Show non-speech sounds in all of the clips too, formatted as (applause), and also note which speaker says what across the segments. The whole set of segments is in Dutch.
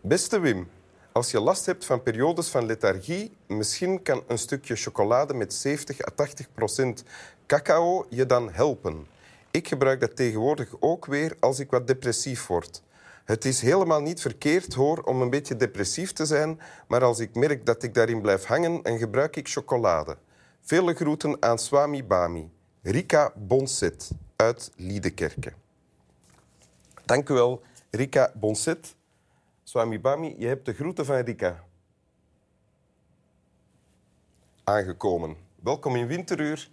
Speaker 1: Beste Wim, als je last hebt van periodes van lethargie, misschien kan een stukje chocolade met 70 à 80 procent cacao je dan helpen. Ik gebruik dat tegenwoordig ook weer als ik wat depressief word. Het is helemaal niet verkeerd hoor om een beetje depressief te zijn, maar als ik merk dat ik daarin blijf hangen, dan gebruik ik chocolade. Vele groeten aan Swami Bami. Rika Bonset uit Liedekerke. Dank u wel, Rika Bonset. Swami Bami, je hebt de groeten van Rika. Aangekomen. Welkom in Winteruur,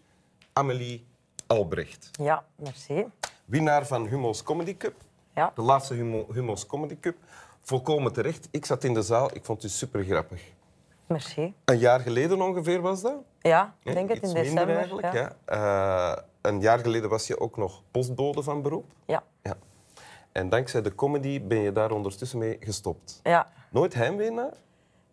Speaker 1: Amelie Albrecht.
Speaker 2: Ja, merci.
Speaker 1: Winnaar van Humo's Comedy Cup.
Speaker 2: Ja.
Speaker 1: De laatste Humo, Humo's Comedy Cup. Volkomen terecht. Ik zat in de zaal, ik vond het super grappig.
Speaker 2: Merci.
Speaker 1: Een jaar geleden ongeveer was dat?
Speaker 2: Ja,
Speaker 1: Hè?
Speaker 2: ik denk het in
Speaker 1: Iets minder
Speaker 2: december.
Speaker 1: eigenlijk, ja. Eh, een jaar geleden was je ook nog postbode van beroep.
Speaker 2: Ja.
Speaker 1: Ja. En dankzij de comedy ben je daar ondertussen mee gestopt.
Speaker 2: ja,
Speaker 1: Nooit heimwee naar?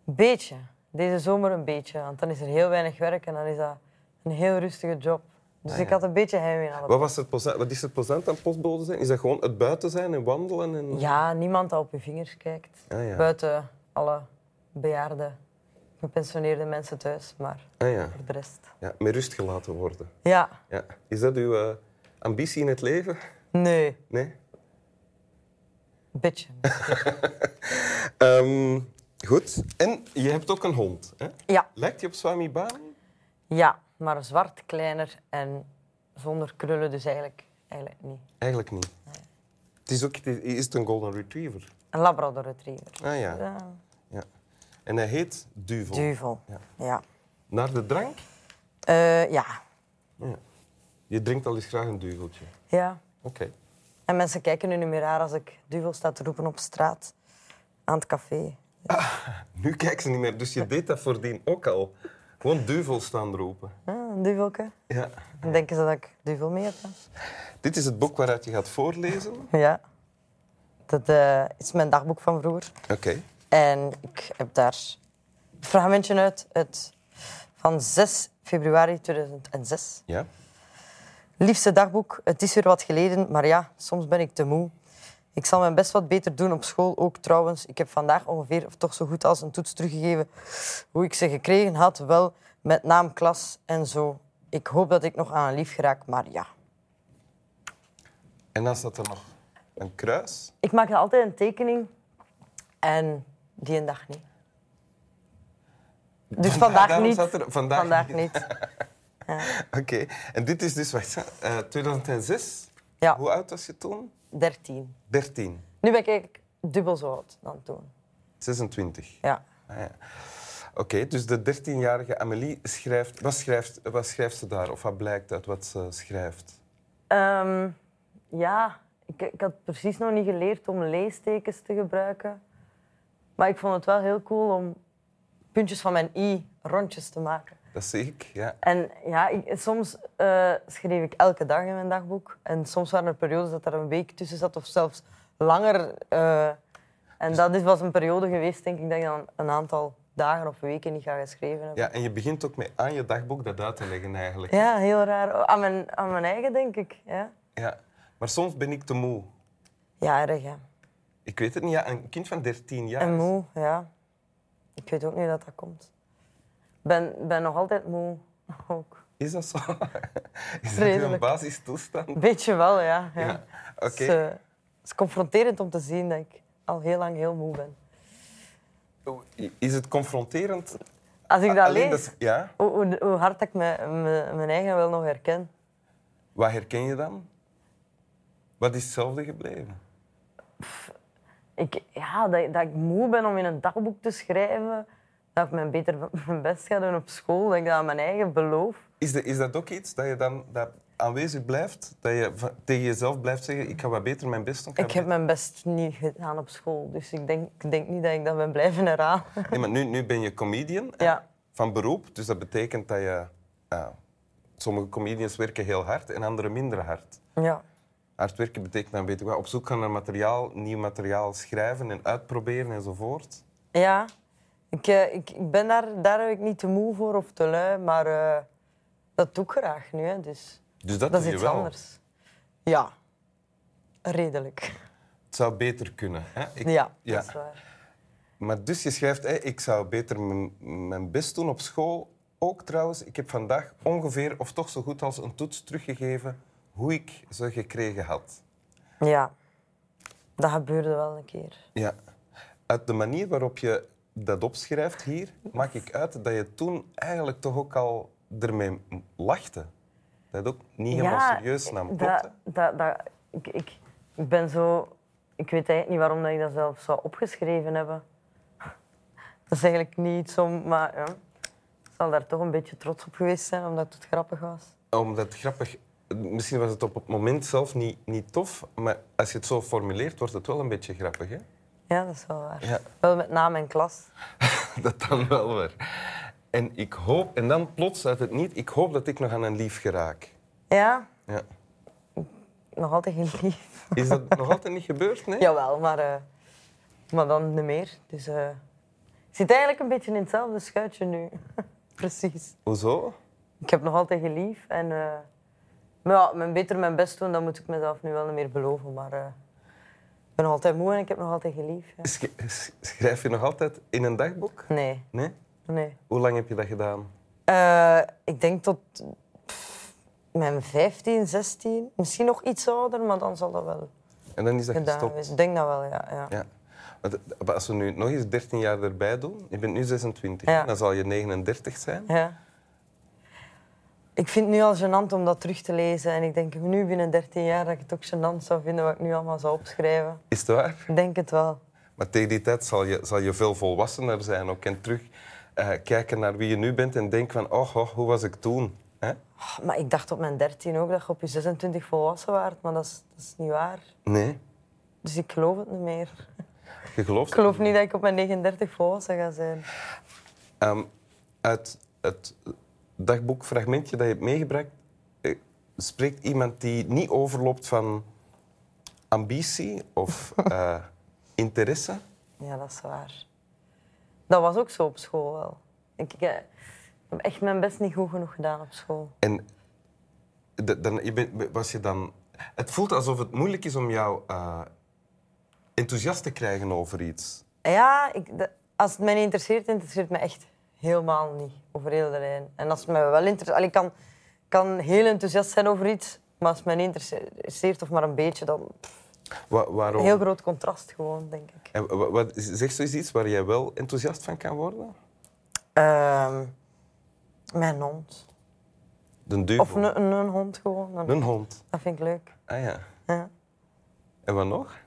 Speaker 2: beetje. Deze zomer een beetje, want dan is er heel weinig werk en dan is dat een heel rustige job. Dus
Speaker 1: Ah,
Speaker 2: ik had een beetje heimwee naar de
Speaker 1: Wat, was het plezant- wat is het plezant aan postbode zijn? Is dat gewoon het buiten zijn en wandelen? En...
Speaker 2: Ja, niemand dat op je vingers kijkt.
Speaker 1: Ah, ja.
Speaker 2: Buiten alle bejaarde, gepensioneerde mensen thuis, maar
Speaker 1: Ah, ja.
Speaker 2: voor de rest.
Speaker 1: ja, met rust gelaten worden.
Speaker 2: Ja,
Speaker 1: Ja. Is dat uw eh, ambitie in het leven?
Speaker 2: nee,
Speaker 1: Nee?
Speaker 2: een
Speaker 1: (laughs)
Speaker 2: beetje.
Speaker 1: Ehm, goed. En je hebt ook een hond. Hè?
Speaker 2: Ja,
Speaker 1: Lijkt je op Swami Bami?
Speaker 2: ja, maar zwart, kleiner en zonder krullen, dus eigenlijk, eigenlijk niet.
Speaker 1: Eigenlijk niet. Het is, ook, is het een golden retriever?
Speaker 2: Een Labrador Retriever.
Speaker 1: Ah ja.
Speaker 2: Ja,
Speaker 1: ja. En hij heet Duvel.
Speaker 2: Duvel.
Speaker 1: Ja.
Speaker 2: Ja.
Speaker 1: Naar de drank?
Speaker 2: Eh, ja.
Speaker 1: Ja. Je drinkt al eens graag een duveltje.
Speaker 2: ja.
Speaker 1: Oké.
Speaker 2: En mensen kijken nu niet meer raar als ik Duvel sta te roepen op straat aan het café.
Speaker 1: Nu kijkt ze niet meer, dus je deed dat voordien ook al. Gewoon duvel staan roepen.
Speaker 2: Ah, een Duvelke.
Speaker 1: Ja.
Speaker 2: Dan denken ze dat ik Duvel mee heb. hè.
Speaker 1: Dit is het boek waaruit je gaat voorlezen.
Speaker 2: Ja. Dat eh, is mijn dagboek van vroeger.
Speaker 1: Oké.
Speaker 2: En ik heb daar een fragmentje uit, uit van 6 februari 2006.
Speaker 1: Ja.
Speaker 2: Liefste dagboek, het is weer wat geleden, maar ja, soms ben ik te moe. Ik zal mijn best wat beter doen op school ook trouwens. Ik heb vandaag ongeveer, of toch zo goed als een toets teruggegeven, hoe ik ze gekregen had, wel met naam klas en zo. Ik hoop dat ik nog aan een lief geraak, maar ja.
Speaker 1: En dan staat er nog een kruis.
Speaker 2: Ik maak altijd een tekening en die een dag niet. Dus vandaag,
Speaker 1: daarom
Speaker 2: niet.
Speaker 1: staat er vandaag
Speaker 2: vandaag
Speaker 1: niet.
Speaker 2: niet.
Speaker 1: (laughs) Oké. En dit is dus, wacht, eh, 2006.
Speaker 2: Ja,
Speaker 1: Hoe oud was je toen?
Speaker 2: 13.
Speaker 1: 13.
Speaker 2: Nu ben ik eigenlijk dubbel zo oud dan toen.
Speaker 1: 26.
Speaker 2: Ja.
Speaker 1: Ah, ja. Oké, dus de 13-jarige Amelie schrijft wat, schrijft... wat schrijft ze daar? Of wat blijkt uit wat ze schrijft?
Speaker 2: Ehm, ja, ik, ik had precies nog niet geleerd om leestekens te gebruiken. Maar ik vond het wel heel cool om puntjes van mijn i rondjes te maken.
Speaker 1: Dat zie ik, ja.
Speaker 2: En ja, ik- soms eh, schreef ik elke dag in mijn dagboek. En soms waren er periodes dat er een week tussen zat of zelfs langer. eh. en dat is, was een periode geweest, denk ik, dat ik dan een aantal dagen of weken niet ga geschreven hebben.
Speaker 1: ja. En je begint ook mee aan je dagboek dat uit te leggen eigenlijk.
Speaker 2: Ja, heel raar. Oh, Aan mijn, aan mijn eigen, denk ik. Ja,
Speaker 1: Ja. Maar soms ben ik te moe.
Speaker 2: ja erg, hè.
Speaker 1: Ik weet het niet, ja, een kind van 13 jaar.
Speaker 2: En moe, ja. Ik weet ook niet hoe dat dat komt. Ik ben, ben nog altijd moe. (laughs) Ook.
Speaker 1: Is dat zo? (laughs) Is dat een
Speaker 2: Vreselijk.
Speaker 1: basistoestand?
Speaker 2: Beetje wel, ja. ja.
Speaker 1: Ja. Oké.
Speaker 2: Het, is, eh, het is confronterend om te zien dat ik al heel lang heel moe ben.
Speaker 1: Is het confronterend?
Speaker 2: Als ik dat
Speaker 1: Alleen
Speaker 2: lees,
Speaker 1: dat- Ja.
Speaker 2: hoe, hoe, hoe hard dat ik me- me- mijn eigen wel nog herken.
Speaker 1: Wat herken je dan? Wat is hetzelfde gebleven?
Speaker 2: Ik, ja, dat, dat ik moe ben om in een dagboek te schrijven. Dat ik mijn beter (laughs) mijn best ga doen op school. Dat ik dat aan mijn eigen beloof.
Speaker 1: Is, de- is dat ook iets dat je dan dat aanwezig blijft? Dat je va- tegen jezelf blijft zeggen, ik ga wat beter mijn best doen. ga
Speaker 2: Ik heb
Speaker 1: wat
Speaker 2: mijn best niet gedaan op school. Dus ik denk, ik denk niet dat ik dat ben blijven herhalen. (laughs)
Speaker 1: beter- (laughs) Nee, maar nu, nu ben je comedian hè,
Speaker 2: Ja.
Speaker 1: van beroep. Dus dat betekent dat je... ah, sommige comedians werken heel hard en anderen minder hard.
Speaker 2: Ja.
Speaker 1: Hard werken betekent dan weet ik wat, op zoek gaan naar materiaal, nieuw materiaal schrijven en uitproberen enzovoort.
Speaker 2: Ja, ik, eh, ik, ik ben daar, daar ben ik niet te moe voor of te lui, maar eh, dat doe ik graag nu. Hè, dus
Speaker 1: Dus dat,
Speaker 2: dat
Speaker 1: doe
Speaker 2: is
Speaker 1: je
Speaker 2: iets
Speaker 1: wel.
Speaker 2: anders. Ja, redelijk.
Speaker 1: Het zou beter kunnen. Hè? Ik-
Speaker 2: Ja,
Speaker 1: ja.
Speaker 2: dat is waar.
Speaker 1: Maar dus je schrijft, hé, ik zou beter mijn- mijn best doen op school. Ook trouwens, ik heb vandaag ongeveer, of toch zo goed als een toets, teruggegeven hoe ik ze gekregen had.
Speaker 2: Ja, dat gebeurde wel een keer.
Speaker 1: Ja. Uit de manier waarop je dat opschrijft hier, maak ik uit dat je toen eigenlijk toch ook al ermee m- lachte. Dat je het ook niet helemaal serieus nam. Klopt,
Speaker 2: dat,
Speaker 1: hè?
Speaker 2: dat, dat, ik, ik, ik ben zo... Ik weet eigenlijk niet waarom dat ik dat zelf zou opgeschreven hebben. (laughs) Dat is eigenlijk niet iets om... Maar ja, ik zal daar toch een beetje trots op geweest zijn, omdat het grappig was.
Speaker 1: Omdat het grappig... Misschien was het op het moment zelf niet, niet tof, maar als je het zo formuleert, wordt het wel een beetje grappig, hè?
Speaker 2: Ja, dat is wel waar.
Speaker 1: Ja.
Speaker 2: Wel met name en klas.
Speaker 1: (laughs) Dat dan wel weer. En ik hoop... En dan plots uit het niet, ik hoop dat ik nog aan een lief geraak.
Speaker 2: Ja,
Speaker 1: Ja.
Speaker 2: nog altijd heel lief.
Speaker 1: Is dat nog altijd niet gebeurd, nee?
Speaker 2: (laughs) Jawel, maar, eh, maar dan niet meer. Dus eh, ik zit eigenlijk een beetje in hetzelfde schuitje nu. (laughs) Precies.
Speaker 1: Hoezo?
Speaker 2: Ik heb nog altijd gelief. En eh, maar ja, mijn beter mijn best doen, dat moet ik mezelf nu wel niet meer beloven. Maar eh, ik ben nog altijd moe en ik heb nog altijd gelief. ja.
Speaker 1: Sch- sch- Schrijf je nog altijd in een dagboek?
Speaker 2: Nee,
Speaker 1: Nee?
Speaker 2: nee.
Speaker 1: Hoe lang heb je dat gedaan?
Speaker 2: Eh, ik denk tot pff, mijn 15, 16. Misschien nog iets ouder, maar dan zal dat wel
Speaker 1: En dan is dat
Speaker 2: gedaan
Speaker 1: gestopt.
Speaker 2: zijn. Ik denk dat wel, ja. ja.
Speaker 1: Ja. Want, eh, maar als we nu nog eens 13 jaar erbij doen, je bent nu 26,
Speaker 2: Ja.
Speaker 1: hè? dan zal je 39 zijn.
Speaker 2: Ja. Ik vind het nu al gênant om dat terug te lezen. En ik denk nu binnen 13 jaar dat ik het ook gênant zou vinden wat ik nu allemaal zou opschrijven.
Speaker 1: Is het waar?
Speaker 2: Ik denk het wel.
Speaker 1: Maar tegen die tijd zal je, zal je veel volwassener zijn ook. En terug eh, kijken naar wie je nu bent en denken van, oh, oh, hoe was ik toen? Hè?
Speaker 2: Oh, Maar ik dacht op mijn 13 ook dat je op je 26 volwassen waart. Maar dat is, dat is niet waar.
Speaker 1: Nee,
Speaker 2: Dus ik geloof het niet meer.
Speaker 1: je gelooft
Speaker 2: Ik geloof niet dat ik op mijn 39 volwassen ga zijn.
Speaker 1: Ehm, uit het dagboekfragmentje dat je hebt meegebracht, eh, spreekt iemand die niet overloopt van ambitie of eh, interesse.
Speaker 2: Ja, dat is waar. Dat was ook zo op school wel. Ik, ik, eh, heb echt mijn best niet goed genoeg gedaan op school.
Speaker 1: En de- dan, je bent- was je dan, het voelt alsof het moeilijk is om jou eh, enthousiast te krijgen over iets.
Speaker 2: Ja, ik, de- als het mij niet interesseert, interesseert het me echt helemaal niet over heel de lijn. En als het mij wel interesseert... allee, Ik kan, kan heel enthousiast zijn over iets, maar als het mij niet interesseert, of maar een beetje, dan... pff,
Speaker 1: Wa- waarom?
Speaker 2: een heel groot contrast gewoon, denk ik.
Speaker 1: En wa- wat, zeg zoiets iets waar jij wel enthousiast van kan worden?
Speaker 2: Ehm, mijn hond.
Speaker 1: De duivel.
Speaker 2: Of een, een, een hond gewoon. Een-
Speaker 1: Een hond.
Speaker 2: Dat vind ik leuk.
Speaker 1: Ah ja.
Speaker 2: Ja.
Speaker 1: En wat nog?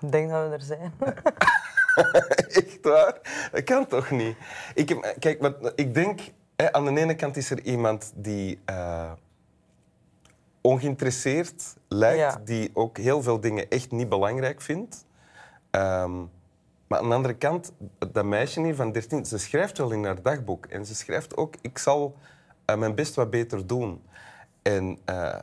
Speaker 2: Ik denk dat we er zijn. (laughs)
Speaker 1: (laughs) Echt waar? Dat kan toch niet? Ik, heb- kijk, wat, ik denk... Hè, aan de ene kant is er iemand die eh, ongeïnteresseerd lijkt...
Speaker 2: Ja.
Speaker 1: die ook heel veel dingen echt niet belangrijk vindt. Ehm, maar aan de andere kant, dat meisje hier van 13... ze schrijft wel in haar dagboek. En ze schrijft ook... ik zal eh, mijn best wat beter doen. En... eh,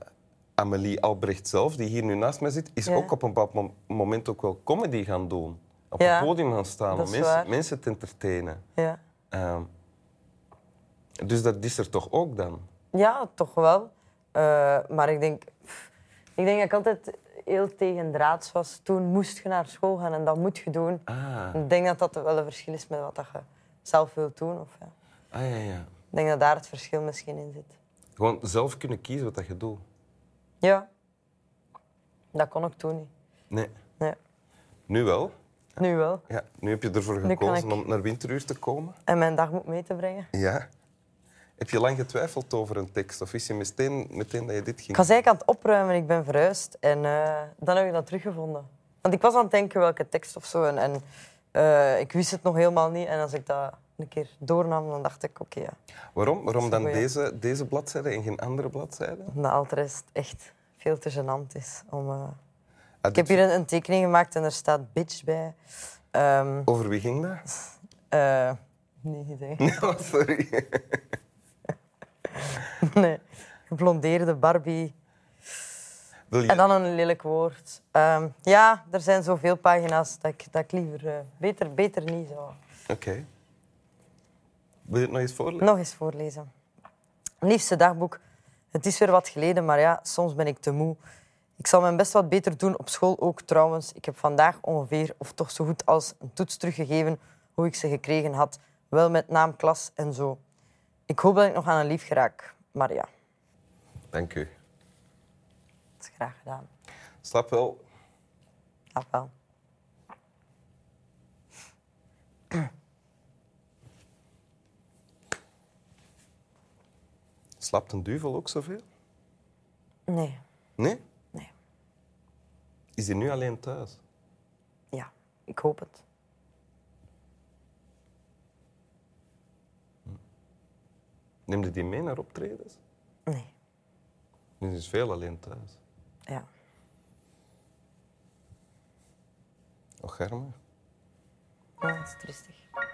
Speaker 1: Amelie Albrecht zelf, die hier nu naast mij zit, is
Speaker 2: Ja.
Speaker 1: ook op een bepaald mom- moment ook wel comedy gaan doen. Op
Speaker 2: Ja.
Speaker 1: een podium gaan staan
Speaker 2: Dat
Speaker 1: om
Speaker 2: is
Speaker 1: mensen,
Speaker 2: waar.
Speaker 1: mensen te entertainen.
Speaker 2: Ja.
Speaker 1: Ehm, dus dat is er toch ook dan?
Speaker 2: Ja, toch wel. Eh, maar ik denk, pff, ik denk dat ik altijd heel tegendraads was. Toen moest je naar school gaan en dat moet je doen.
Speaker 1: Ah,
Speaker 2: Ik denk dat dat wel een verschil is met wat dat je zelf wilt doen. Of, ja.
Speaker 1: ah ja, ja.
Speaker 2: Ik denk dat daar het verschil misschien in zit.
Speaker 1: Gewoon zelf kunnen kiezen wat dat je doet.
Speaker 2: Ja, dat kon ik toen niet.
Speaker 1: Nee,
Speaker 2: Nee.
Speaker 1: nu wel.
Speaker 2: Nu wel.
Speaker 1: Ja, nu heb je ervoor
Speaker 2: Nu kan
Speaker 1: gekozen
Speaker 2: ik.
Speaker 1: om naar Winteruur te komen.
Speaker 2: En mijn dagboek mee te brengen.
Speaker 1: Ja. Heb je lang getwijfeld over een tekst? Of is je meteen, meteen dat je dit
Speaker 2: Ik
Speaker 1: ging...
Speaker 2: was eigenlijk aan het opruimen, ik ben verhuisd. En eh, dan heb ik dat teruggevonden. Want ik was aan het denken welke tekst of zo. En, en eh, ik wist het nog helemaal niet. En als ik dat een keer doornam, dan dacht ik, oké, ja.
Speaker 1: Waarom? Waarom
Speaker 2: Dat is
Speaker 1: dan
Speaker 2: een goeie.
Speaker 1: deze, deze bladzijde en geen andere bladzijde?
Speaker 2: Omdat al de rest echt veel te gênant is. Om, eh,
Speaker 1: Ah,
Speaker 2: Ik heb hier een, een tekening gemaakt en er staat bitch bij. Ehm
Speaker 1: Over wie ging dat?
Speaker 2: (laughs) eh, nee, (laughs) idee.
Speaker 1: Oh, sorry.
Speaker 2: nee. Geblondeerde Barbie.
Speaker 1: Wil je...
Speaker 2: En dan een lelijk woord. Ehm, ja, er zijn zoveel pagina's dat ik, dat ik liever eh, beter, beter niet zou.
Speaker 1: Oké. Wil je het nog eens voorlezen?
Speaker 2: Nog eens voorlezen. Liefste dagboek. Het is weer wat geleden, maar ja, soms ben ik te moe. Ik zal mijn best wat beter doen op school ook trouwens. Ik heb vandaag ongeveer, of toch zo goed als, een toets teruggegeven hoe ik ze gekregen had. Wel met naam, klas en zo. Ik hoop dat ik nog aan een lief geraak. Maar ja,
Speaker 1: Dank u.
Speaker 2: dat is graag gedaan.
Speaker 1: Slaap wel.
Speaker 2: Dat wel.
Speaker 1: Slaapt een duivel ook zoveel?
Speaker 2: Nee,
Speaker 1: Nee?
Speaker 2: nee.
Speaker 1: Is die nu alleen thuis?
Speaker 2: Ja, ik hoop het.
Speaker 1: Neemde die mee naar optredens?
Speaker 2: Nee,
Speaker 1: Nu is veel alleen thuis.
Speaker 2: ja.
Speaker 1: Och, Germa.
Speaker 2: Ja, dat is tristig.